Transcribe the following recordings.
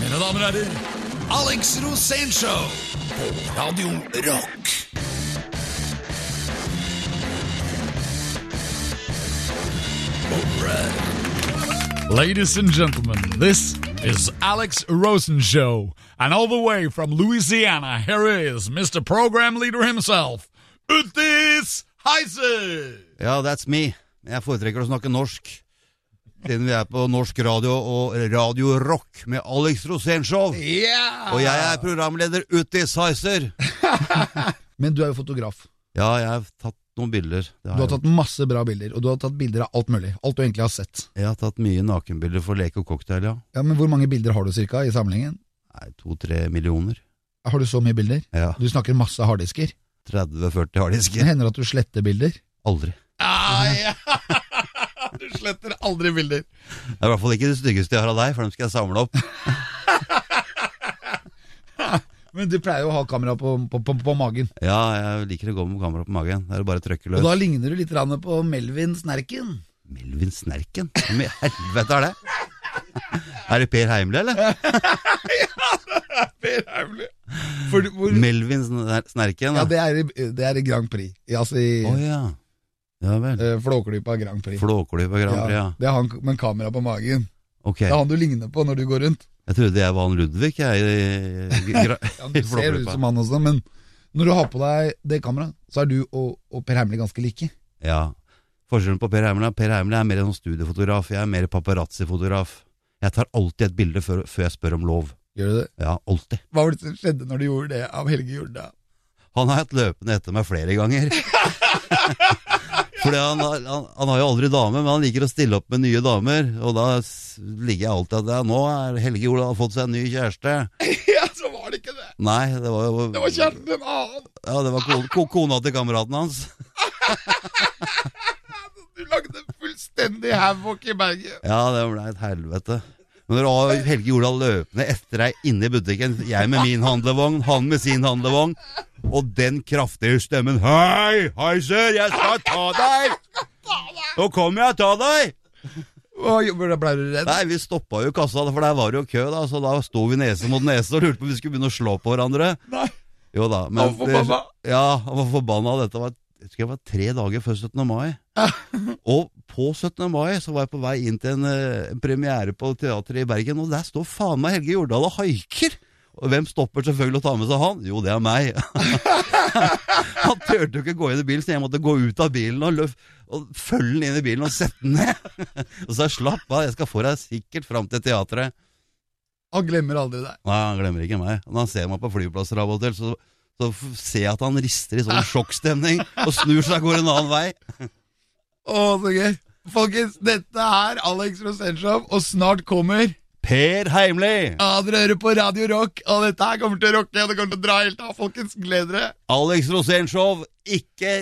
Mine damer og herrer, Alex Rosénshow på Radio Rock. Ladies and gentlemen, this is Alex Rosen Show. And all the way from Louisiana, here is Mr. Program Leader himself, Uthis Heise! Ja, that's me. Jeg foretrekker å snakke norsk. Siden vi er på norsk radio og Radio Rock med Alex Rosénshow. Yeah! Og jeg er programleder uti Sizer. Men du er jo fotograf. Ja, jeg har tatt noen bilder. Det Du har jeg. tatt masse bra bilder, og du har tatt bilder av alt mulig. Alt du egentlig har sett. jeg har tatt mye nakenbilder for Lek og cocktail, ja. Ja, Men hvor mange bilder har du cirka i samlingen? Nei, to-tre millioner. Har du så mye bilder? Ja. Du snakker masse harddisker. 30-40 Det harddisker. hender at du sletter bilder. Aldri. Ah, ja. Du sletter aldri bilder. Det er i hvert fall ikke det styggeste jeg har av deg, for dem skal jeg samle opp. Men du pleier jo å ha kamera på, på, på, på magen. Ja, jeg liker å gå med kamera på magen. Da er det bare å trykke Og løs. da ligner du litt grann på Melvin Snerken. Melvin Snerken? Hvem i helvete er det? Er det Per Heimli, eller? Per Haugli. For du- hvor- Melvin Sner- Snerken? Ja, da. det er i, det er i Grand Prix. I- Altså i Å ja. Ja vel. eh, Flåklypa Grand Prix. Flåklypa Grand Prix, ja. Det er han med kamera på magen. Ok. Det er han du ligner på når du går rundt. Jeg trodde jeg var han Ludvig, jeg. I, i, gra- Ja, i du ser ut Flåklypa. som han også, men når du har på deg det kameraet, så er du og, og Per Heimli ganske like. Ja. Forskjellen på Per Heimli er Per Heimli er mer en sånn studiefotograf. Jeg er mer paparazzi-fotograf. Jeg tar alltid et bilde før, før jeg spør om lov. Gjør du det? Ja, alltid. Hva var det som skjedde når du gjorde det av Helge Jordal? Han har hatt løpende etter meg flere ganger. Fordi han, har- han, han har jo aldri dame, men han liker å stille opp med nye damer. Og da s- ligger jeg alltid at ja, nå er Helge Olav fått seg en ny kjæreste. Ja, så var det ikke det. Nei, det var jo Det var kjæresten til en annen. Ja, det var kona, ko- kona til kameraten hans. Du lagde fullstendig havoc i Bergen. Ja, det ble et helvete. Men når A- Helge Jordal løpende etter deg inne i butikken, jeg med min handlevogn, han med sin handlevogn, og den kraftige stemmen Hei, hei, sør, jeg skal ta deg! Nå kommer jeg og tar deg! Ble du redd? Nei, vi stoppa jo kassa, for der var det jo kø, da, så da sto vi nese mot nese og lurte på om vi skulle begynne å slå på hverandre. Nei. Jo da, men Han var forbanna. Det, ja, han var forbanna. Dette var, jeg husker jeg var tre dager før 17. mai. og på 17. mai så var jeg på vei inn til en eh, premiere på teatret i Bergen, og der står faen meg Helge Jordal og haiker! Og hvem stopper selvfølgelig å ta med seg han? Jo, det er meg. han turte jo ikke gå inn i bilen, så jeg måtte gå ut av bilen og, løf, og følge den inn i bilen og sette den ned. og så slapp av, jeg skal få deg sikkert fram til teatret. Han glemmer aldri deg. Nei, han glemmer ikke meg. Når han ser meg på flyplasser av og til, så, så f- ser jeg at han rister Ah. i sånn sjokkstemning og snur seg og går en annen vei. Å, så gøy. Folkens, dette er Alex Rosenshov, og snart kommer Per Heimli! ja, Dere hører på Radio Rock, og dette her kommer til å rocke, og det kommer til å dra helt av. Folkens, gled dere. Alex Rosénshow, ikke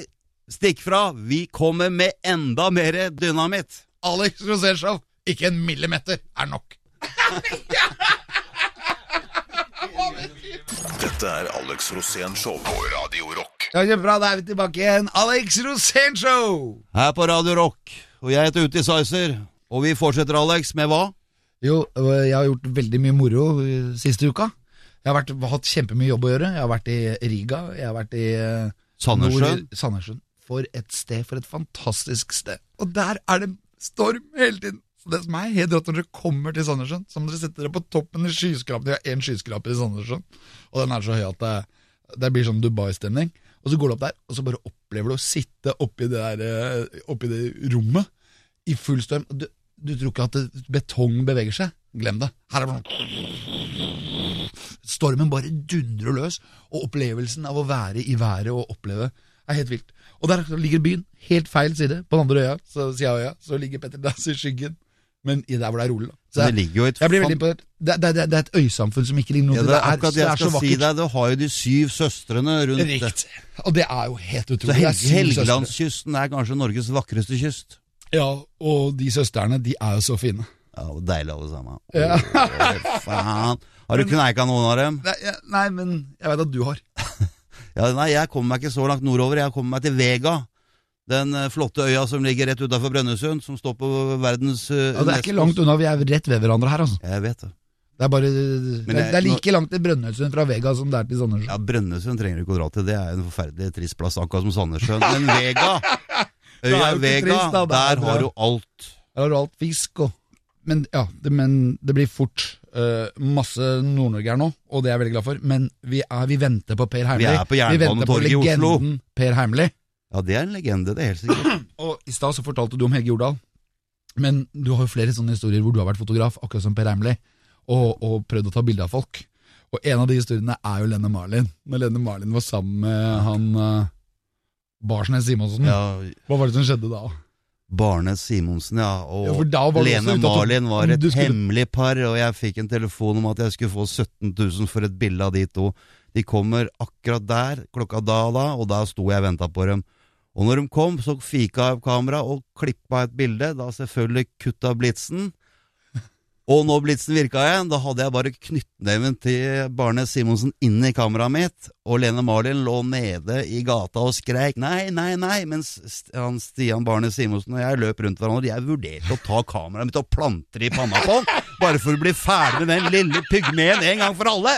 stikk fra. Vi kommer med enda mer dynamitt. Alex Rosenshov, ikke en millimeter er nok. Dette er Alex Rosénshow på Radio Rock. Ja, Kjempebra, da er vi tilbake igjen. Alex Rosenshov! Her på Radio Rock. Og jeg heter Uti Sizer. Og vi fortsetter, Alex, med hva? Jo, øh, jeg har gjort veldig mye moro øh, siste uka. Jeg har vært, hatt kjempemye jobb å gjøre. Jeg har vært i Riga, jeg har vært i øh, Sandnessjøen. Nord- Sandnessjøen. For et sted, for et fantastisk sted. Og der er det storm hele tiden. Så det som er helt rått når dere kommer til Sandnessjøen, så må dere sette dere på toppen i skyskrapen. De har én skyskraper i Sandnessjøen, og den er så høy at det, det blir sånn Dubai-stemning. Og så går du opp der, og så bare opplever du å sitte oppi det, der, eh, oppi det rommet i full storm. Du, du tror ikke at det- betong beveger seg. Glem det. Her er det sånn Stormen bare dundrer løs, og opplevelsen av å være i været og oppleve er helt vilt. Og der ligger byen, helt feil side, på den andre øya, så, siden av øya, så ligger Petter Dass i skyggen. Men i der hvor det er rolig, da. Så Det jeg, ligger jo et jeg blir veldig imponert. Det, det, det, det er et øysamfunn som ikke ligner noe ja, til. det er det, akkurat det er, det jeg er så skal si vakkert. deg. Du har jo de syv søstrene rundt Riktig. Og det er jo helt Så utrolig. Det er Helge, syv søstre. Helgelandskysten er kanskje Norges vakreste kyst. Ja, og de søstrene, de er jo så fine. Ja, det var deilig alle sammen. Ja. Åh, faen. Har du kneika noen av dem? Nei, jeg- nei, men jeg veit at du har. Ja, nei, jeg kommer meg ikke så langt nordover. Jeg kommer meg til Vega. Den eh, flotte øya som ligger rett utafor Brønnøysund, som står på verdens Ja, eh, det er Unescos- ikke langt unna, vi er rett ved hverandre her, altså. Jeg vet det. Det er bare det, jeg- det er like langt til Brønnøysund fra Vega som det er til Sandnessjøen. Ja, Brønnøysund trenger du ikke å dra til. Det er en forferdelig trist plass, akkurat som Sandnessjøen. Men Vega! er jo Øya ikke Vega, trist, da. Det er der bra. har du alt. Der har du alt fisk og Men ja, det, men det blir fort eh, masse Nord-Norge her nå, og det er jeg veldig glad for. Men vi, er, vi venter på Per Heimli. er venter på på Jernbanetorget i Oslo. legenden Per Heimli. Ja, det er en legende, det er helt sikkert. Og i stad så fortalte du om Helge Jordal. Men du har jo flere sånne historier hvor du har vært fotograf, akkurat som Per Heimli, og, og prøvd å ta bilde av folk. Og en av de historiene er jo Lenne Marlin. Når Lenne Marlin var sammen med han uh, Barsnes Simonsen, Ja, hva var det som skjedde da? Barnes Simonsen, ja. Og Ja, for da var du også ute Lene at du- Mm, Marlin var et du skulle- hemmelig par, og jeg fikk en telefon om at jeg skulle få 17 000 for et bilde av de to. De kommer akkurat der, klokka da og da, og da sto jeg og venta på dem. Og når de kom, så fika jeg opp kamera og klippa et bilde, da selvfølgelig kutta blitsen. Og når blitsen virka igjen, da hadde jeg bare knyttneven til Barnes Simonsen inn i kameraet mitt, og Lene Marlin lå nede i gata og skreik nei, nei, nei, mens St- han Stian Barnes Simonsen og jeg løp rundt hverandre. Jeg vurderte å ta kameraet mitt og plantre i panna på han, bare for å bli ferdig med den lille pygmeen en gang for alle.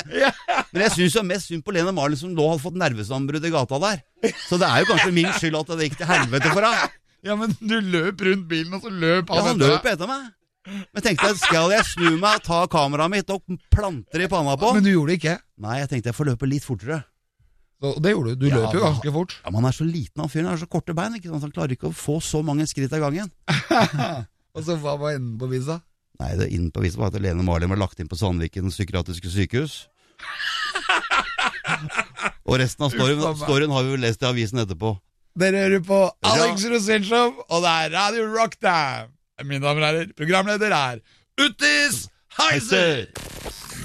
Men jeg syns jo mest synd på Lene Marlin, som nå hadde fått nervesambrudd i gata der. Så det er jo kanskje min skyld at det gikk til helvete for henne. Ja, men du løp rundt bilen, og så løp han Ja, han etter deg. løp etter meg. Men tenkte jeg, skal jeg snu meg og ta kameraet mitt og planter i panna på? Men du gjorde det ikke. Nei, jeg tenkte jeg får løpe litt fortere. Så det gjorde du. Du Ja, løp jo da- ganske fort. Ja, Man er så liten, han fyren. Han har så korte bein. ikke sant? Han klarer ikke å få så mange skritt av gangen. Og så hva var enden på visa? Nei, det inn på viset var at Lene Marlin var lagt inn på Sandviken psykiatriske sykehus. Og resten av storyen, Uff, faen meg. storyen har vi vel lest i avisen etterpå. Dere hører på Alex Rosén Show, og det er Radio Rocktime! Mine damer og herrer, programleder er Uttis Heiser!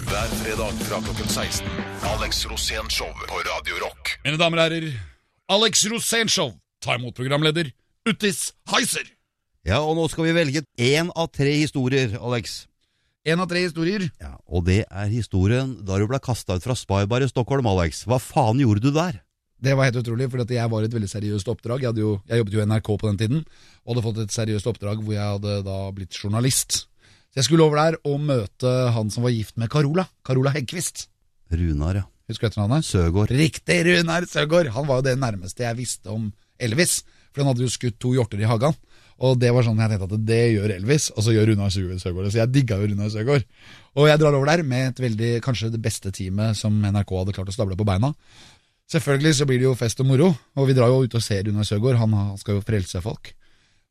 Hver fredag fra klokken 16. Alex Rosén Show på Radio Rock. Mine damer og herrer, Alex Rosénshow tar imot programleder Uttis Heiser. Ja, og nå skal vi velge én av tre historier, Alex. En av tre historier. Ja, Og det er historien da du ble kasta ut fra Spybar i Stockholm, Alex. Hva faen gjorde du der? Det var helt utrolig, for jeg var i et veldig seriøst oppdrag. Jeg, hadde jo, jeg jobbet jo i NRK på den tiden, og hadde fått et seriøst oppdrag hvor jeg hadde da blitt journalist. Så jeg skulle over der og møte han som var gift med Carola. Carola Heggquist. Runar, ja. Husker du etternavnet? Søgaard. Riktig, Runar Søgaard. Han var jo det nærmeste jeg visste om Elvis. For han hadde jo skutt to hjorter i hagen. Og det var sånn jeg tenkte at det gjør Elvis, og så gjør Runar Sø- Søgaard det. Så jeg digga jo Runar Søgaard. Og jeg drar over der med et veldig, kanskje det beste teamet som NRK hadde klart å stable på beina. Selvfølgelig så blir det jo fest og moro, og vi drar jo ut og ser Runar Søgaard. Han har- skal jo frelse folk.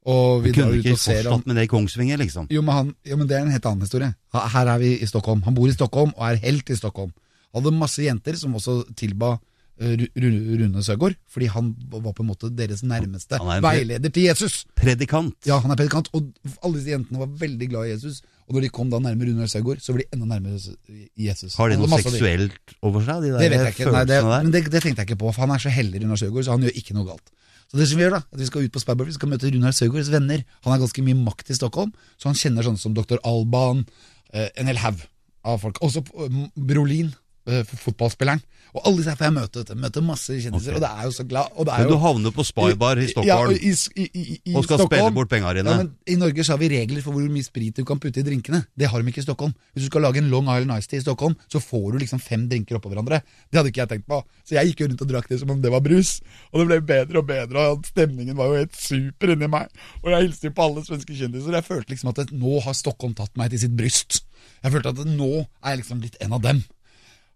Og vi Vi drar kunne ut ikke og ser han fortsatt med det i Kongsvinger, liksom. jo, men han, jo, men det er en helt annen historie. Ha- Her er vi i Stockholm. Han bor i Stockholm og er helt i Stockholm. Han hadde masse jenter som også tilba eh, Ru- Ru- Rune Søgaard, fordi han var på en måte deres nærmeste Han er en pre- veileder til Jesus. Predikant. Ja, han er predikant, og alle disse jentene var veldig glad i Jesus. Og når de kom da nærmere Rune Søgaard, så ble de enda nærmere Jesus. Har de Han hadde noe masse av de. seksuelt over seg, de der Det vet jeg ikke. Nei, det, følelsene der? men det, det tenkte jeg ikke på, for han er så heldig, Runar Søgaard, så han gjør ikke noe galt. Så det som Vi gjør da, at vi skal ut på Spabber, vi skal møte Runar Søgaards venner. Han har ganske mye makt i Stockholm, så han kjenner sånne som Dr. Alban, eh, en hel haug av folk. Også eh, Brolin, eh, f- fotballspilleren. Og alle disse her får jeg møte, vet du. Møter masse kjendiser, og Ok. det er jo så glad. Og det Men er du jo, havner på Spybar i Ja, Stockholm og, i, s- i, i, i og skal Stockholm, spille bort penga ja, dine. men I Norge så har vi regler for hvor mye sprit du kan putte i drinkene. Det har de ikke i Stockholm. Hvis du skal lage en Long Island Ice Tea i Stockholm, så får du liksom fem drinker oppå hverandre. Det hadde ikke jeg tenkt på. Så jeg gikk jo rundt og drakk det som om det var brus. Og det ble bedre og bedre, og stemningen var jo helt super inni meg. Og jeg hilste jo på alle svenske kjendiser. Jeg følte liksom at det- nå har Stockholm tatt meg til sitt bryst. Jeg følte at nå er jeg liksom blitt en av dem.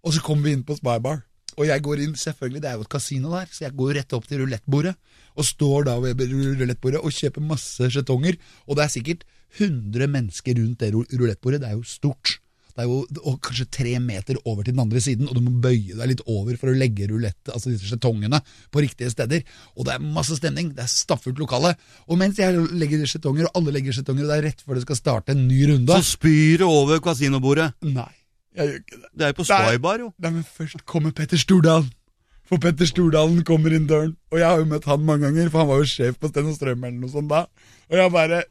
Og så kommer vi inn på Spybar. Og jeg går inn, selvfølgelig, det er jo et kasino der, så jeg går rett opp til rulettbordet. Og står da ved rulettbordet og kjøper masse skjetonger. Og det er sikkert 100 mennesker rundt det ru- rulettbordet. Det er jo stort. Det er jo og kanskje tre meter over til den andre siden, og du må bøye deg litt over for å legge rulett, altså disse skjetongene på riktige steder. Og det er masse stemning, det er stappfullt lokale. Og mens jeg legger skjetonger, og alle legger skjetonger, og det er rett før det skal starte en ny runde Så spyr det over kasinobordet. Nei, jeg gjør ikke det. Det er jo på Nei. Spybar, jo. Nei, men først kommer Petter Stordalen. For Petter Stordalen kommer inn døren, og jeg har jo møtt han mange ganger, for han var jo sjef på Sten og Strøm eller noe sånt da. Og jeg bare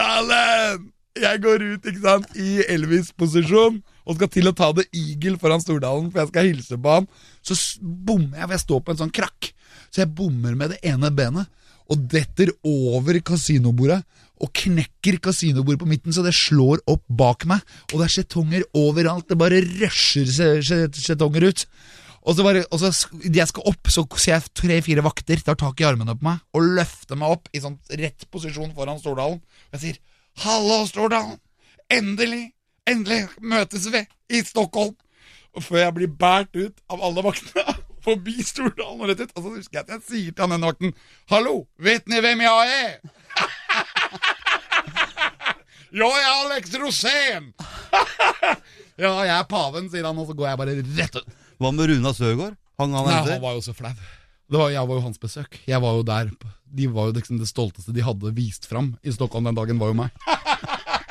Stordalen! Jeg går ut, ikke sant, i Elvis-posisjon, og skal til å ta det eagle foran Stordalen, for jeg skal hilse på han. Så s- bommer jeg, for jeg står på en sånn krakk. Så jeg bommer med det ene benet, og detter over kasinobordet og knekker kasinobordet på midten, så det slår opp bak meg. Og det er skjetonger overalt. Det bare rusher skje- skje- skjetonger ut. Og så bare, og så sk- idet jeg skal opp, så ser jeg tre-fire vakter tar tak i armene på meg og løfter meg opp i sånn rett posisjon foran Stordalen. Og jeg sier 'Hallo, Stordalen! Endelig! Endelig møtes vi i Stockholm!' Og før jeg blir båret ut av alle vaktene forbi Stordalen og rett ut, og så husker jeg at jeg sier til han ene vakten 'Hallo, vet ni hvem jeg er?' Ja, jeg er Alex Rosén! ja, jeg er paven, sier han, og så går jeg bare rett ut. Hva med Runa Søgaard? Hang han Nei, han etter? var jo så flau. Det var, jeg var jo hans besøk. Jeg var jo der. De var jo liksom det stolteste de hadde vist fram i Stockholm den dagen, var jo meg.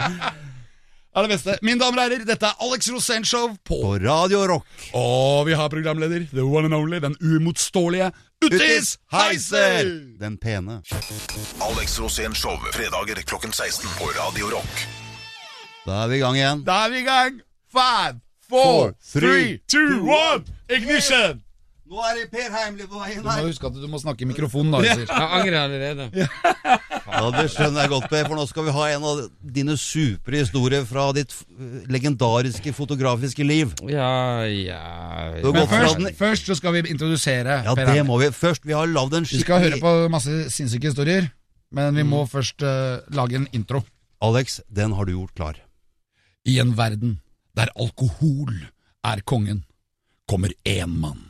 Det er det beste. Mine damer og herrer, dette er Alex Rosén Show på På Radio Rock. Og vi har programleder, the one and only, den uimotståelige Utis Heiser! Den pene. Alex Rosén Show, fredager klokken 16 på Radio Rock. Da er vi i gang igjen. Da er vi i gang. Five, four, three, two, one, ignition! Nå er det Per Heimli på veien Du må huske at du må snakke i mikrofonen, da, Heiser. Jeg angrer allerede. Ja, Det skjønner jeg godt, Per, for nå skal vi ha en av dine supre historier fra ditt eh, legendariske fotografiske liv. Ja, ja Du har Men gått fra først, den først så skal vi introdusere Ja, Per det Arne. må vi. Først, vi har lagd en Vi skal høre skikkelig på masse sinnssyke historier, men vi må først eh, lage en intro. Alex, den har du gjort klar. I en verden der alkohol er kongen, kommer én mann.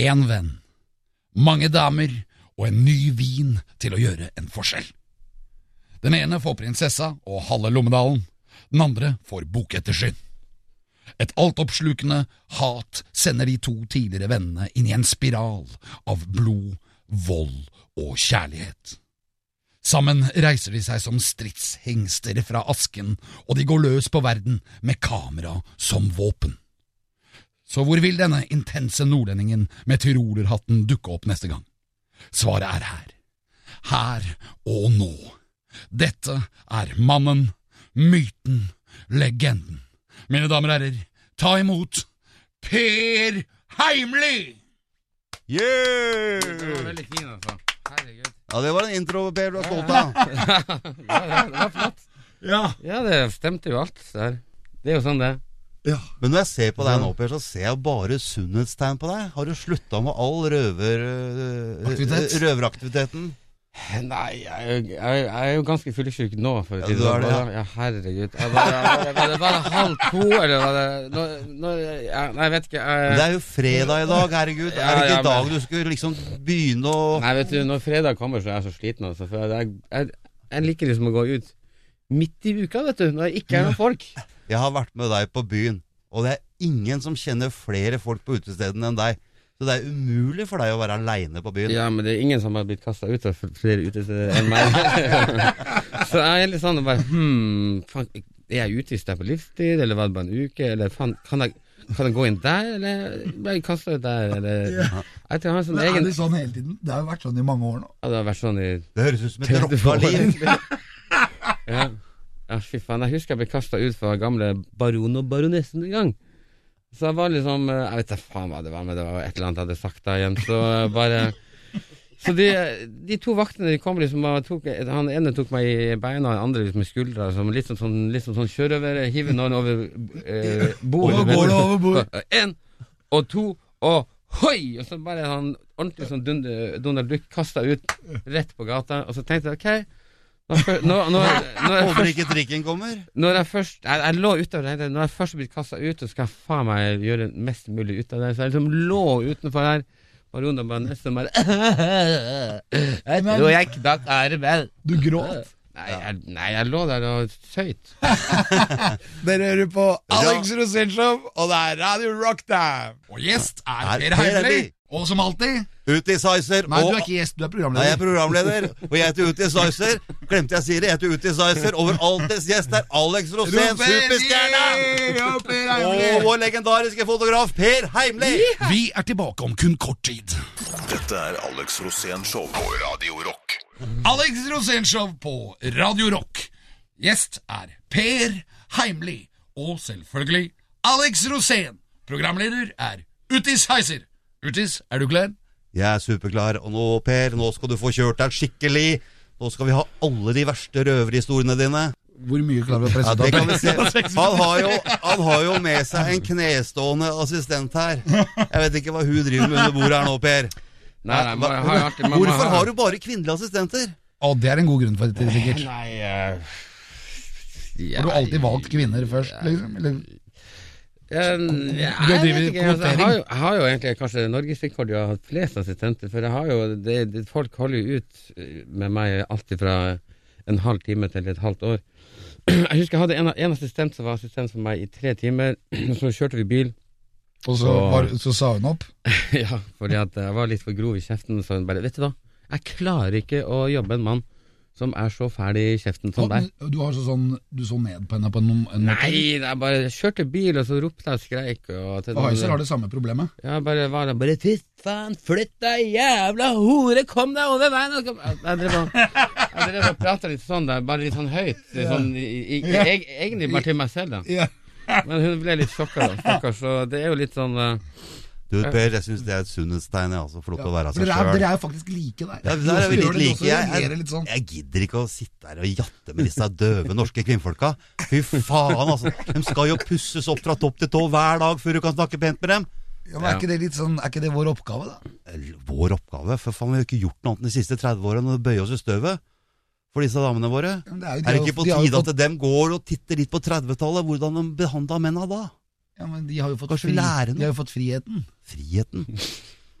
Én venn. Mange damer og en ny vin til å gjøre en forskjell. Den ene får prinsessa og halve Lommedalen. Den andre får bokettersyn. Et altoppslukende hat sender de to tidligere vennene inn i en spiral av blod, vold og kjærlighet. Sammen reiser de seg som stridshengster fra asken, og de går løs på verden med kamera som våpen. Så hvor vil denne intense nordlendingen med tyrolerhatten dukke opp neste gang? Svaret er her. Her og nå. Dette er mannen, myten, legenden. Mine damer og herrer, ta imot Per Heimly! Den var veldig fin, altså. Herregud. Ja, det var en intro, Per, du er stolt av. Ja, ja, det var flott. Ja. Ja, det stemte jo alt det her. Det er jo sånn, det. Men når jeg ser på deg nå, Per, så ser jeg bare sunnhetstegn på deg. Har du slutta med all røver, eh, Aktivitet? røveraktiviteten? Nei, jeg, er jo- jeg, jeg er jo ganske fyllesyk nå. For å Ja, si du er sånn. det, ja. Bare- ja, herregud. Jeg bare, jeg bare, var det bare halv to, eller var det når, når, jeg, Nei, jeg vet ikke. Jeg, Det er jo fredag i dag, herregud. Ja, Er det ikke ja, i dag men- du skulle liksom begynne å Nei, vet du, når fredag kommer, så er jeg så sliten. Altså, for jeg, jeg, jeg liker liksom å gå ut midt i uka, vet du. Når det ikke er noen folk. Jeg har vært med deg på byen, og det er ingen som kjenner flere folk på utestedene enn deg. Så det er umulig for deg å være aleine på byen. Ja, men det er ingen som har blitt kasta ut av flere utesteder enn meg. så jeg er litt sånn og bare hmm, faen, er jeg utested på livstid, eller var det bare en uke, eller faen, kan jeg, kan jeg gå inn der, eller ble jeg kasta ut der, eller Jeg tror jeg har en sånn egen det sånn hele tiden? Det har jo vært sånn i mange år nå. Ja, det har vært sånn i Det høres ut som et rocka liv. ja. ja, fy faen. Jeg husker jeg ble kasta ut fra gamle Baron og Baronessen en gang. Så jeg var liksom eh, Jeg vet da faen hva det var, men det var et eller annet jeg hadde sagt da igjen. Så eh, bare Så de, de to vaktene de kom liksom og tok Han ene tok meg i beina, han andre liksom i skuldra. Som litt sånn, sånn, litt sånn, sånn sjørøver. Hiver noen over eh, bordet. Over bordet, over bordet. Så, eh, En og to og hoi! Og så bare han ordentlig sånn dunder, Donald Duck kasta ut rett på gata. Og så tenkte jeg OK nå, fø- nå, nå, når, jeg Håper først, ikke trikken kommer. når jeg først Jeg, jeg lå ute og tenkte Når jeg først er blitt kasta ut, så skal jeg faen meg gjøre mest mulig ut av det. Så jeg liksom lå utenfor der. Baron og baronessen bare Jeg tror jeg knakk armen. Du gråt. Nei, jeg, nei, jeg lå der og søyt. Dere hører på Alex Rosén Show, og det er Radio Rocktime. Og gjest er, Er Per Heimli. Heimli. Og som alltid Ut i Sizer. Nei, du og- er ikke gjest, du er Nei, jeg er programleder. programleder, og jeg heter Uti Sizer. Glemte jeg sier det. Jeg heter Uti Sizer. Overaltes gjest er Alex Rosén, superstjerne! Ja, Per Og Heimli. vår legendariske fotograf Per Heimli! Vi er tilbake om kun kort tid. Dette er Alex Rosén Show på Radio Rock. Alex Rosén Show på Radio Rock. Gjest er Per Heimli. Og selvfølgelig Alex Rosén. Programleder er Utis Heiser. Utis, er du klar? Jeg er superklar, og nå, Per, nå skal du få kjørt deg skikkelig. Nå skal vi ha alle de verste røverhistoriene dine. Hvor mye klarer vi å Ja, presse ut det av kan vi Per? se. Han har, jo, han har jo med seg en knestående assistent her. Jeg vet ikke hva hun driver med under bordet her nå, Per. Nei, nei, man har jo alltid man- man Hvorfor har du bare kvinnelige assistenter? Å, det er en god grunn for det, sikkert. Nei eh, Har du alltid valgt kvinner først, liksom? Eller? Eh, ja, Du jeg driver vet ikke, altså, jeg, kvotering. har jo, jeg har jo egentlig kanskje norgesrekord i å ha hatt flest assistenter, for jeg har jo det, det, Folk holder jo ut eh, med meg alt fra en halv time til et halvt år. Jeg husker jeg hadde en, en assistent som var assistent for meg i tre timer. Så kjørte vi bil. Og så, Åh. var, så sa hun opp. ja, fordi at jeg var litt for grov i kjeften, så hun bare Vet du hva, jeg klarer ikke å jobbe en mann som er så fæl i kjeften som deg. Du, har så sånn, du så ned på henne på en, en måte? Nei, jeg bare kjørte bil, og så ropte jeg og skreik. Og til Og Heiser har det samme problemet. Ja, bare var det bare Fitt faen, flytt deg, jævla hore, kom deg over veien! og kom-» Jeg drev og, jeg drev og prata litt sånn, der, bare litt sånn høyt. Litt sånn, i, i, eg- egentlig bare til meg selv, da. Ja. Men hun ble litt sjokka, da. Stakkars. Så det er jo litt sånn eh, Du, Per, jeg syns det er et sunnhetstegn. jeg, Altså, for lov til å være seg Dere er, sjøl. dere er jo faktisk like der. Ja, der er vi Dere gjør litt det like. også, Jeg, reagerer jeg, litt sånn. jeg gidder ikke å sitte her og jatte med disse døve norske kvinnfolka. Fy faen, altså. De skal jo pusses opp fra topp til tå hver dag før du kan snakke pent med dem. Ja, men er, ikke det litt sånn, er ikke det vår oppgave, da? Vår oppgave? For faen, vi har ikke gjort noe annet de siste 30 årene enn å bøye oss i støvet for disse damene våre. Ja, men Det er, jo, de Er det har jo- ikke på de har jo tide fått- at dem går og titter litt på 30-tallet, hvordan de behandla menna da? ja, men De har jo fått, Kanskje fri, lære noe? de har jo fått friheten. Friheten.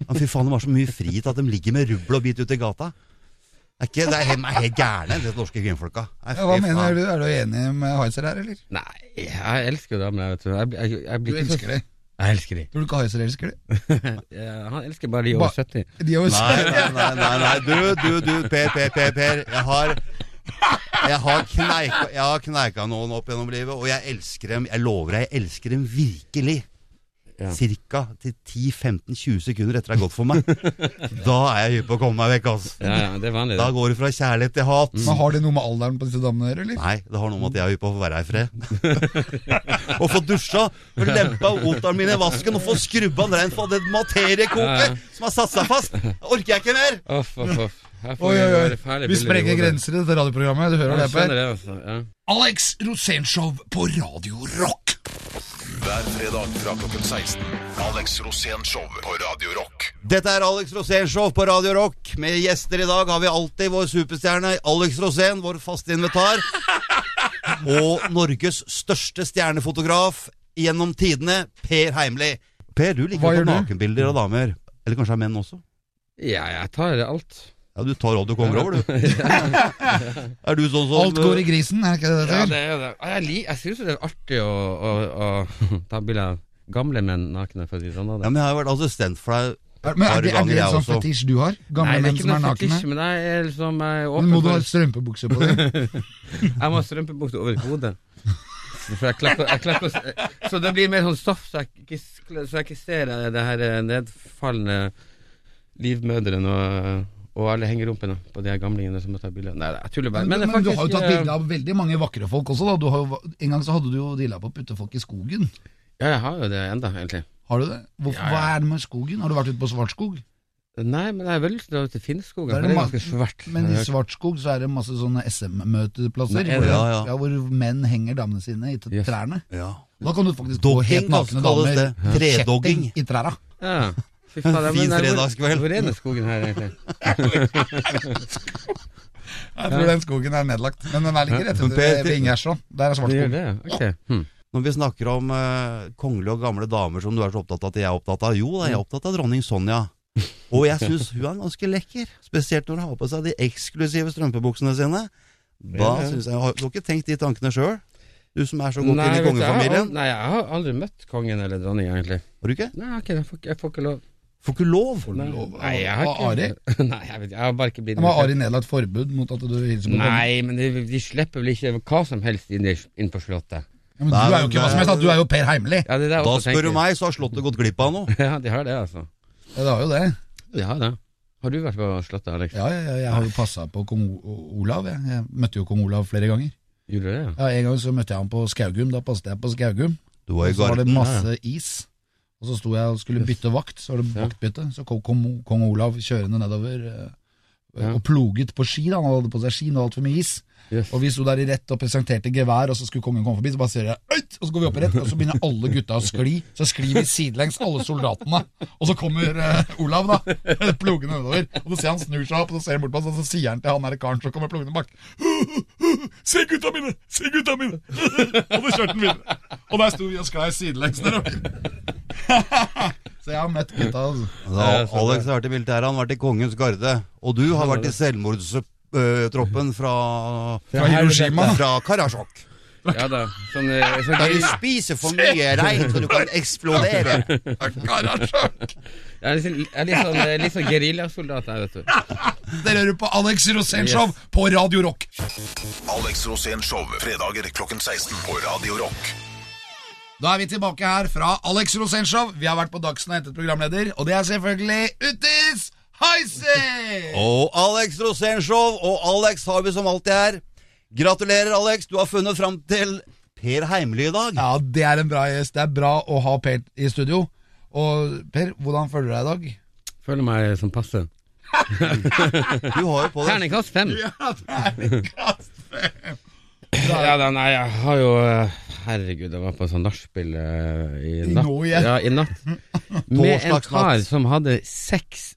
Ja, fy faen, de har så mye frihet at de ligger med rubbel og bit ute i gata. Det er, ikke, det er, helt, de er helt gærne, de norske kvinnfolka. Nei, Ja, hva fy mener faen. du? Er du enig med Heiser her, eller? Nei, jeg elsker jo damer, vet du. Jeg, blir- jeg, jeg Du blir ikke så- elsker det. Jeg elsker de. Tror du ikke Heiser elsker det? Eh, Han elsker bare de over Ba- 70. De har jo Nei, nei, nei, nei, nei. Du, du, du, Per, Per, Per, per. Jeg har jeg har, kneika, jeg har kneika noen opp gjennom livet, og jeg elsker dem. Jeg lover deg, jeg elsker dem virkelig. Ja. Cirka til 10-15-20 sekunder etter det har gått for meg. Da er jeg hypp på å komme meg vekk, altså. Ja, Mm. ja, det er vanlig. Da det. går det fra kjærlighet til hat. Men Har det noe med alderen på disse damene å gjøre, eller? Nei, det har noe med at jeg er hypp på å få være her i fred. Å få dusja, få lempa otene mine i vasken og få skrubba den rein fra det materiekoket som har satt seg fast. Orker jeg ikke mer! Off, off, off. Her får Oi, vi oi, oi. bare fæle Vi bilder i sprenger hodet. grenser i dette radioprogrammet. Du hører Jeg det, Per? skjønner det, altså. Ja. Alex Rosénshow på Radio Rock. Hver fredag fra klokken 16. Alex Rosénshow på Radio Rock. Dette er Alex Rosénshow på Radio Rock. Med gjester i dag har vi alltid vår superstjerne Alex Rosén, vår faste invitar. Og Norges største stjernefotograf gjennom tidene, Per Heimli. Per, du Hva liker å gjør ta du? nakenbilder av damer. Eller kanskje av menn også? ja, jeg tar alt. Ja, Du tar råd du kommer over, du. Er du sånn som Alt går i grisen, er ikke det det Ja, heter? det er jo det. Jeg, lik- jeg syns det er artig å, å, å ta bilder av gamle menn nakne. For å si det sånn, da. Ja, men Jeg har jo vært assistent for deg. Men er det, er ganger det jeg en sånn også. fetisj du har? Gamle Nei, det er menn ikke som er noe nakne? fetisj, men jeg er liksom jeg er Men åpen må du ha for strømpebukse på deg? Jeg må ha strømpebukse over hodet. For jeg klapper, jeg klapper, så det blir mer sånn stoff, så jeg ikke, skl- så jeg ikke ser eh, det her eh, nedfallende livmødrene og, og alle hengerumpene på de her gamlingene som må ta bilder. Nei, jeg tuller bare. Men, det er du har jo tatt eh, bilde av veldig mange vakre folk også, da. Du har jo, en gang så hadde du jo dilla på å putte folk i skogen. eh, Ja, jeg har jo det enda, egentlig. Har du det? Hvorfor, Ja, ja. Hva er det med skogen? Har du vært ute på Svartskog? Nei, men jeg har veldig lyst til å dra ut til Finnskogen, Da er for det det er ma- ganske svært. Men i Svartskog så er det masse sånne SM-møteplasser Nei, hvor, ja, ja. ja, hvor menn henger damene sine i t- Yes. trærne. Ja. Da kan du faktisk gå Dogging helt nakne kalles damer. det. Tredogging. Kjetting i træra. Ja. Fy Fin faen, jeg- men jeg- hvor- fredagskveld. Hvor er den skogen her, egentlig? Jeg tror den skogen er nedlagt, men den er like rett Men Per, til- Ingerstrand. Der er Det gjør det, ja. ok. Hm. Når vi snakker om eh, kongelige og gamle damer som du er så opptatt av at jeg er opptatt av Jo da, Mm. jeg er opptatt av dronning Sonja. Og jeg syns hun er ganske lekker. Spesielt når hun har på seg de eksklusive strømpebuksene sine. Da Ja, ja. synes jeg, har- Du har ikke tenkt de tankene sjøl? Du som er så godt Nei, inn i vet du, jeg har al- kongefamilien. Nei, jeg har aldri møtt kongen eller dronninga, egentlig. Har du ikke? Nei, jeg har ikke det. jeg får, ikke- jeg får ikke lov. Får ikke lov! Nei, lov av- nei, jeg har av ikke Nei, jeg, vet, jeg har bare ikke blitt Har Ari nedlagt forbud mot at du hilser på kongen? Nei, men de, de slipper vel ikke hva som helst inn, i, inn på slottet. Ja, men du er jo ikke hva som helst, da. du er jo Per Heimli. Ja, det er det jeg Da også spør du tenker. meg, så har Slottet gått glipp av noe. Ja, de har det, altså. Ja, det har jo det. De har det. Har du vært på slottet, Alex? Ja, ja, ja, jeg har jo passa på kong O- Olav. Jeg. jeg møtte jo kong Olav flere ganger. Gjorde du det? ja? Ja, En gang så møtte jeg ham på Skaugum. Da passet jeg på Skaugum. Du var i Så var det garden. masse is. Og så sto jeg og skulle bytte vakt, så var det Ja. vaktbytte. Så kom, kom kong Olav kjørende nedover eh, Ja. og ploget på ski. Da. Han hadde på seg ski, nå altfor mye is. Yes. Og vi sto der i rett og presenterte gevær, og så skulle kongen komme forbi, så bare sier jeg «Øyt!» Og så går vi opp i rett, og så begynner alle gutta å skli. Så sklir vi sidelengs, alle soldatene. Og så kommer eh, Olav, da, plogende nedover. Og så ser han snur seg opp, og så ser han bort på oss, og så sier han til han der karen som kommer plogende bak. Se gutta mine! Se gutta mine! og så kjørte han videre. Og der sto vi og sklei sidelengs nedover. så jeg har møtt gutta, altså. Da, Alex har vært i militæret, han har vært i kongens garde. Og du har vært i selvmordstroppen fra, Fra Hiroshima. fra Karasjok. Ja da. Sånn, eh, sånn, Der du spiser for mye rein så du kan eksplodere. Karasjok! jeg er litt, sånn- jeg er litt sånn, eh, litt sånn geriljasoldat, jeg, vet du. Dere hører på Alex Rosenshov på Radio Rock. Alex Rosén Show, fredager klokken 16 på Radio Rock. Da er vi tilbake her fra Alex Rosenshov. Vi har vært på Dagsen og hentet programleder, og det er selvfølgelig Utis Heisi! Og Alex Rosénshow og Alex har vi som alltid her. Gratulerer, Alex. Du har funnet fram til Per Heimly i dag. Ja, det er en bra gjest. Det er bra å ha Per i studio. Og Per, hvordan føler du deg i dag? Føler meg som passe. Du har jo på deg Terningkast fem. Ja, det er kast fem. Ja da, nei, jeg har jo eh, Herregud, jeg var på sånn nachspiel eh, i I natt. nå igjen. Ja, i natt. Med en Torsdagsnatt. kar som hadde seks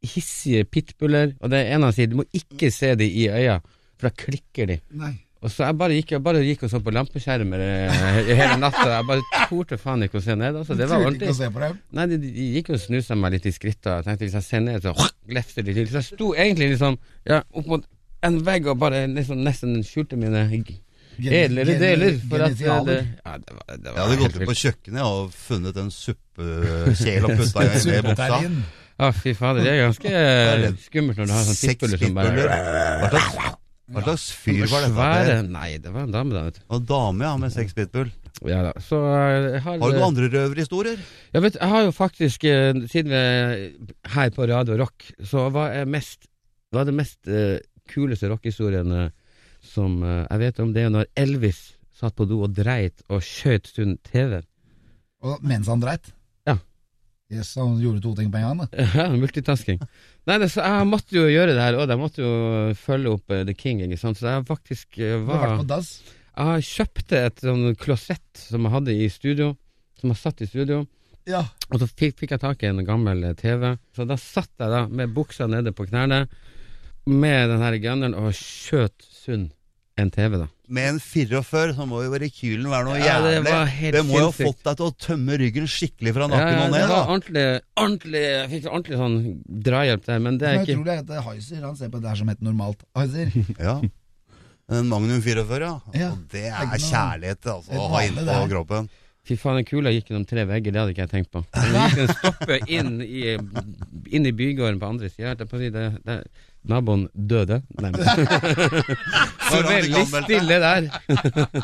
hissige pitbuller, og det er en av sier du må ikke se de i øya, for da klikker de. Nei. Og så jeg bare gikk, jeg bare gikk og så på lampeskjermer eh, hele natta. Jeg bare torde faen ikke å se ned. Altså. Det var Turte ikke å ordentlig. se på dem. Nei, de, de gikk jo og snusa meg litt i skrittet. Jeg tenkte hvis jeg ser ned, så glefser de til. Så jeg sto egentlig liksom ja, opp mot en vegg og bare liksom nesten skjulte mine Gen- edlere gen- deler. For at eh, genitaler. det, ja, det var, det Jeg var hadde gått helt ut på vilt. kjøkkenet og funnet en suppekjel og putta i ned i buksa. Superterrin. Å, fy fader. Det er ganske eh, Det er skummelt når du har sånn Seks tittbuller som pitbuller. bare Hva slags, hva slags fyr var dette? Svære Per? Nei, det var en dame, da. vet Og dame, ja, med seks pitbull. du. Ja da. Så eh, jeg har Har du noen andre røverhistorier? Jeg vet, jeg har jo faktisk, eh, siden vi er her på Radio Rock, så var jeg mest Var det mest eh, kuleste rockehistorien eh, som eh, jeg vet om, det er når Elvis satt på do og dreit og skjøt sunn TV. Og mens han dreit. Ja. Yes, han gjorde to ting på en gang. da. Multitasking. Nei, det, så jeg måtte jo gjøre det her òg, jeg måtte jo følge opp eh, The King, ikke sant, så jeg faktisk eh, Du har var vært på dass. Jeg kjøpte et sånn klosett som jeg hadde i studio, som jeg satt i studio. Ja. Og så fikk, fikk jeg tak i en gammel eh, TV, så da satt jeg da med buksa nede på knærne med den her gunneren og skjøt sund en TV, da. Med en 44 så må jo rekylen være noe Ja, det jævlig. var helt det må jo ha sinnssykt. fått deg til å tømme ryggen skikkelig fra Ja, nakken og ja, det ned, var da. ordentlig, ordentlig Jeg fikk ordentlig sånn drahjelp der, men det Det er er ikke utrolig at eh, Heiser han ser på det her som helt normalt. Heiser, Ja. En Magnum 44, ja. Ja. Og det Det er er ikke noe- kjærlighet altså, Det er å ha vanlig, det innpå her. kroppen. Fy faen, den kula gikk gjennom tre vegger, det hadde ikke jeg tenkt på. Den gikk en stoppe inn i, inn i bygården på andre sida. Naboen døde. Nei, men Det Før han fikk var veldig anmeldt det. stille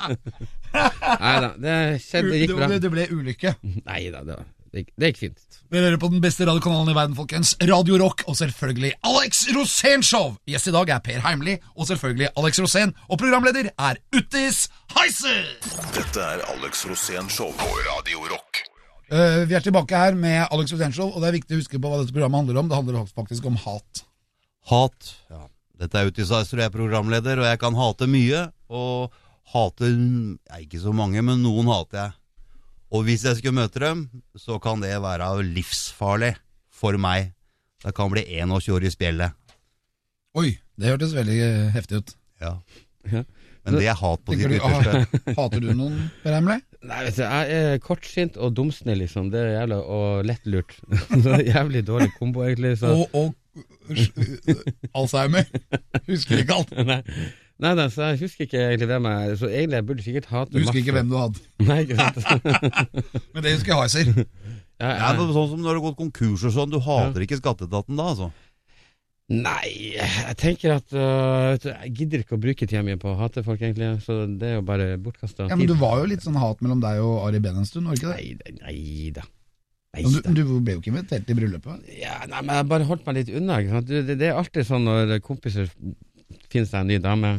der. Nei da, det skjedde, det det gikk bra. ble, det ble ulykke. Nei da, det, var- det, gikk- det gikk fint. Dere hører på den beste radiokanalen i verden, folkens. Radio Rock, og selvfølgelig Alex Rosénshow! Gjest i dag er Per Heimli, og selvfølgelig Alex Rosén. Og programleder er Uttis Heiser! Dette er Alex Rosén Show på Radio Rock. Eh, vi er tilbake her med Alex Rosénshow, og det er viktig å huske på hva dette programmet handler om. Det handler faktisk om hat. Hat. Dette er Utisizer, jeg er programleder, og jeg kan hate mye. Og hater ja, ikke så mange, men noen hater jeg. Og hvis jeg skulle møte dem, så kan det være livsfarlig for meg. Det kan bli 21 år i spjeldet. Oi, det hørtes veldig eh, heftig ut. Ja. Ja. Men det er hat på Tenker sitt du, ytterste. hater du noen, Per Heimli? Nei, vet du, jeg er kortsint og dumsnill, liksom. Det er jævla og lettlurt. Så jævlig dårlig kombo, egentlig. Så. Og, og eh, Alzheimer. Husker ikke alt. Nei. Nei da, så jeg husker ikke egentlig hvem jeg er. Så egentlig jeg burde sikkert hate Du husker ikke hvem du hadde. Nei, ikke sant. Men det husker Heiser. Ja, Ja, jeg, men sånn som når det har gått konkurs og sånn, du hater ikke skatteetaten da, altså? nei, jeg tenker at øh, vet du, Jeg gidder ikke å bruke tida mi på å hate folk, egentlig. Så det er jo bare bortkasta Ja, men du var jo litt sånn hat mellom deg og Ari Behn en stund, var det ikke det? Nei da. Nei da. Men du, men du ble jo ikke invitert til bryllupet. Ja, nei, men jeg bare holdt meg litt unna. Ikke sant? Du, det, det er alltid sånn når kompiser finner seg en ny dame,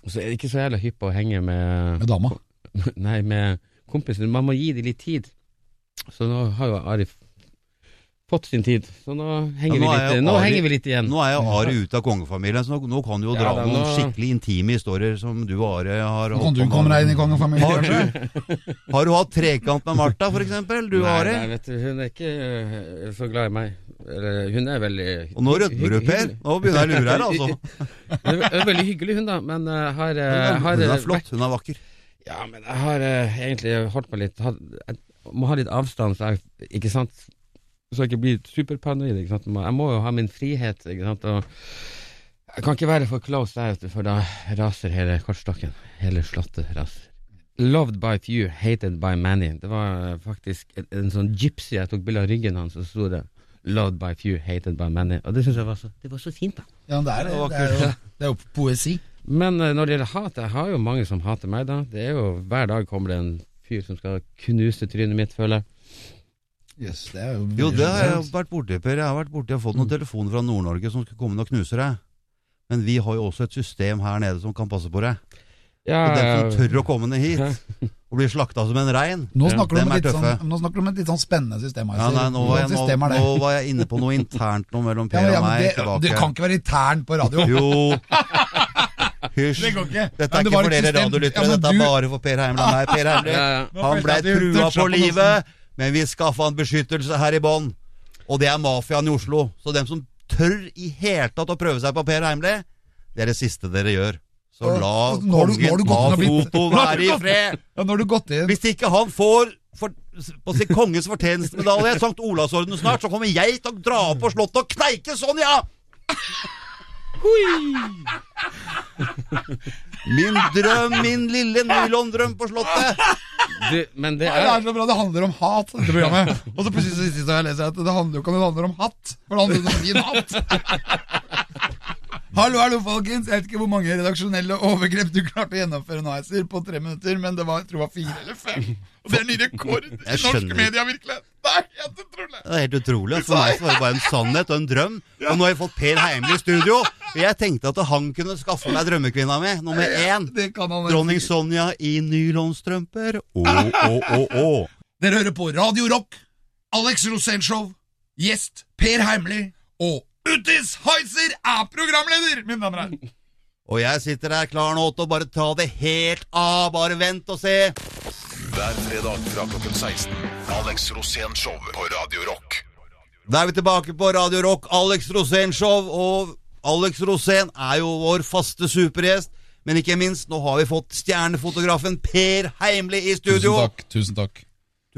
og så er det ikke så jævla hypp på å henge med Med dama. Nei, med kompiser. Man må gi dem litt tid. Så nå har jo Ari fått sin tid. Så nå Ja, henger, nå vi, er jo litt, nå Ari- henger vi litt igjen. Nå er jo Are ute av kongefamilien, så nå, nå kan du jo Mm. Ja, dra da, noen nå- skikkelig intime historier som du og Are har Nå kan du på med. komme deg inn i kongefamilien, Har kanskje? du, har du hatt trekant med Martha, for eksempel? Du og Nei, Are? nei, vet du, hun er ikke øh, så glad i meg. Eller, hun er veldig Og nå rødmer du, Per. Nå begynner jeg å lure her, altså. Hun er veldig hyggelig, hun, da, men øh, har, øh, har Hun øh, er flott, hun er vakker. Ja, men jeg har eh, egentlig holdt meg litt hatt- Jeg må ha litt avstand, så jeg, ikke sant? Så jeg ikke blir superparanoid. Ikke sant? Jeg må jo ha min frihet, ikke sant? Og jeg kan ikke være for close der, vet du, for da raser hele kortstokken. Hele slottet raser. Loved by few, hated by many. Det var eh, faktisk en, en sånn gypsy jeg tok bilde av ryggen hans, og så sto det 'Loved by few, hated by many'. Og det synes jeg var så, det var så fint, da. Ja, det er, det er, jo, det er jo poesi. Men eh, når det gjelder hat, jeg har jo mange som hater meg, da. Det er jo Hver dag kommer det en fyr som skal knuse trynet mitt, føler jeg. Yes, det er jo, Jo, det har jeg vært borti, Per. Jeg har vært borti og fått Mm. noen telefoner fra Nord-Norge som skal komme ned og knuse deg. Men vi har jo også et system her nede som kan passe på deg. Ja, Og den som ja, tør å komme ned hit og bli slakta som en rein Nå snakker, du Dem om er et litt sånn, tøffe. nå snakker du om et litt sånn spennende system. ja, Heiser. nei, nå, var jeg, Hvordan nå, system er det? nå var jeg inne på noe internt nå mellom Ja, Per men- ja, og men meg det, tilbake. det kan ikke være intern på radio. Jo Hysj. Det går ikke. Dette Men er det ikke var for et dere system- radiolyttere, Ja, men dette er du- bare for Per Heimland. Nei, Per Heimland. Ja, ja. Han Nå ble følte jeg at du trua toucha på på noe livet, men vi skaffa han beskyttelse her i bånn. Og det er mafiaen i Oslo. Så dem som tør i hele tatt å prøve seg på Per Heimli, det er det siste dere gjør. Så Og- la og nå har du- nå har du kongen gått av inn og blitt- Foto Nå har du være i gått- fred. Ja, når du gått inn Hvis ikke han får for, på sin kongens fortjenstmedalje, Sankt Olavsorden snart, så kommer jeg til å dra opp på slottet og kneike sånn, ja! Min drøm, min lille nylondrøm på slottet. du, men det Nei, det er er så bra, det handler om hat, dette programmet. Og så plutselig så sist jeg leser at det handler jo ikke om det handler om hatt. For det handler om din hatt. Hallo, hallo, folkens. Jeg vet ikke hvor mange redaksjonelle overgrep du klarte å gjennomføre nå, Heiser, på tre minutter, men det var, jeg tror det var fire eller fem. Og det er ny rekord i norsk skjønner. media, virkelig. Det er helt utrolig. Det er helt utrolig. altså. For meg så var det bare en sannhet og en drøm. Og nå har jeg fått Per Heimli i studio. Og jeg tenkte at han kunne skaffe meg drømmekvinna mi, nummer én. Det kan han Dronning Sonja i nylonstrømper. Å, å, å, å. Dere hører på Radio Rock, Alex Rosénshow, gjest Per Heimli og Utis Heiser er programleder, mine damer og herrer. Og jeg sitter her klar nå til å bare ta det helt av. Bare vent og se. Hver fredag fra klokken 16. Alex Rosén Show på Radio Rock. Da er vi tilbake på Radio Rock, Alex Rosén-show. Og Alex Rosén er jo vår faste supergjest. Men ikke minst, nå har vi fått stjernefotografen Per Heimli i studio. tusen takk.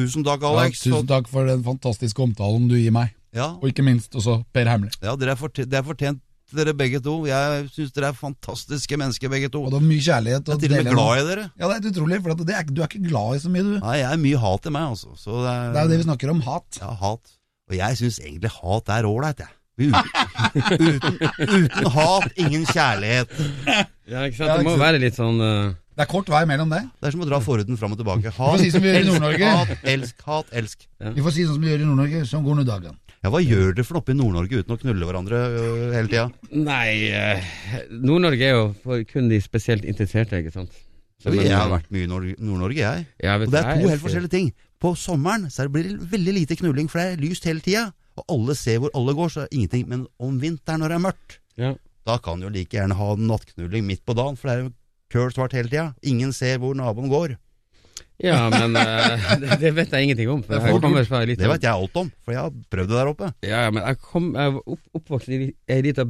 Tusen takk, Alex. tusen takk for den fantastiske omtalen du gir meg. Ja, Og ikke minst også Per Heimli. ja dere er fortjent, det er fortjent, dere begge to. Jeg syns dere er fantastiske mennesker, begge to. Og det var mye kjærlighet. Jeg er til og med glad i dere. Ja, det er helt utrolig, for at det er, ikke- du er ikke glad i så mye, du. Nei, jeg er mye hat i meg, altså. Så det er, Det er jo det vi snakker om, hat. Ja, hat. Og jeg syns egentlig hat er ålreit, jeg. Uten, uten, uten hat, ingen kjærlighet. Ja, ikke Ja, sant? Det må ikke sant. være litt sånn eh, Det er kort vei mellom det. Det er som å dra forhuden fram og tilbake. Vi får Hat, si som vi gjør i Nord-Norge. hat, elsk, hat, elsk. Vi får si sånn som vi gjør i Nord-Norge, som går nå dagen. Ja, Hva gjør dere for noe oppe i Nord-Norge uten å knulle hverandre øh, hele tida? Nei, eh, Nord-Norge er jo for kun de spesielt interesserte, ikke sant? Så, men- Jeg har vært mye i Nord- Nord-Norge, jeg. Ja, vet Og du, det er jeg to helt elsker- forskjellige ting. På sommeren så er det- blir det veldig lite knulling, for det er lyst hele tida. Og alle ser hvor alle går, så er det ingenting. Men om vinteren når det er mørkt, Ja. da kan du jo like gjerne ha nattknulling midt på dagen, for det er jo køl svart hele tida. Ingen ser hvor naboen går. ja, men eh, det, det vet jeg ingenting om. For Det er jeg for kommer fra ei Det lita veit jeg alt om, for jeg har prøvd det der oppe. ja, ja, men jeg kom, jeg var opp, oppvokst i ei lita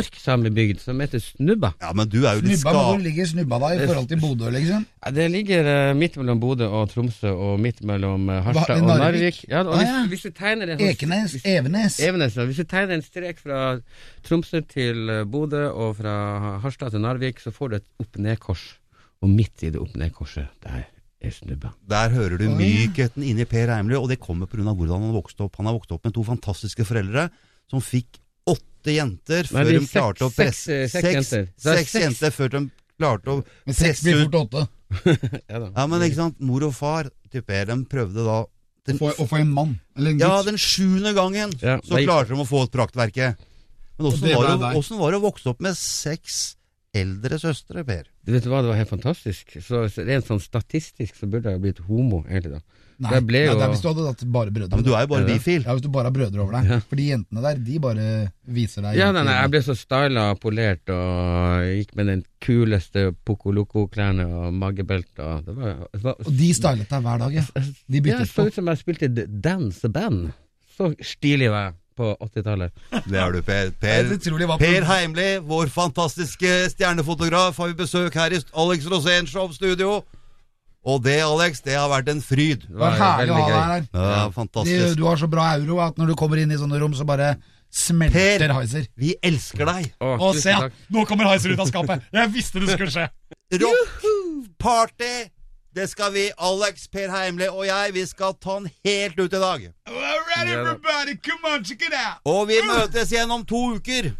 marksamebygd som heter Snubba. Ja, men du er jo litt Snubba, men hvor skada. ligger snubba da i forhold til Bodø, liksom? Ja, Det ligger eh, midt mellom Bodø og Tromsø, og midt mellom eh, Harstad Hva- og Narvik. Narvik? Ja, og Ah, hvis, ja. hvis du tegner en sånn- Ekenes, hvis- Evenes. Evenes, ja. Hvis du tegner en strek fra Tromsø til eh, Bodø og fra Harstad til Narvik, så får du et opp-ned-kors. Og midt i det opp-ned-korset, der er snubba. Der hører du mykheten inni Per Heimly, og det kommer pga. hvordan han vokste opp. Han har vokst opp med to fantastiske foreldre som fikk åtte jenter Nei, før det er de seks- klarte å seks, presse eh, seks jenter. Det er seks seks. jenter før de klarte å Men seks blir fort åtte. Ja, da. Ja, men ikke sant, mor og far til Per, de prøvde da den, Få- Å få en mann. Eller en gutt. Ja, den sjuende gangen Ja, så det- klarte de å få et praktverke. Men Og det åssen var, var det- deg. hvordan var det å vokse opp med seks eldre søstre, Per. Du vet hva, det var helt fantastisk. Så så rent sånn statistisk så burde jeg jo blitt homo, egentlig. da. Nei, Jeg ble nei, jo- det er hvis du hadde hatt bare Ja, brødre. men du er jo bare Er det? bifil. Ja, hvis du bare har brødre over deg. For de jentene der, de bare viser deg Ja, nei, nei, jeg ble så styla og polert og gikk med den kuleste Poco Loco-klærne og magebelte og det var, det var Og de stylet deg hver dag, ja. De Ja, bytter jeg så på. ut som jeg spilte d- danseband. Så stilig var jeg på 80-tallet. Det er du, Per. Det er utrolig Per, hva- per Heimli, vår fantastiske stjernefotograf, har vi besøk her i Alex Rosén Show studio. Og det, Alex, det har vært en fryd. Det var herlig å ha deg her. Ja, De, fantastisk. du har så bra euro at når du kommer inn i sånne rom, så bare smelter Per. Heiser. Vi elsker deg. Å, Å, tusen se! takk. Nå kommer Heiser ut av skapet! Jeg visste det skulle skje! Rock party! Det skal vi, Alex, Per Heimli og jeg, vi skal ta den helt ut i dag. All right, everybody, come on, check it out! Og vi Ah! møtes igjen om to uker.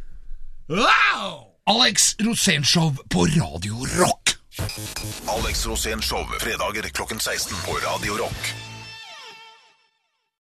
Wow! Alex Rosénshow på Radio Rock. Alex Rosénshow fredager klokken 16 på Radio Rock.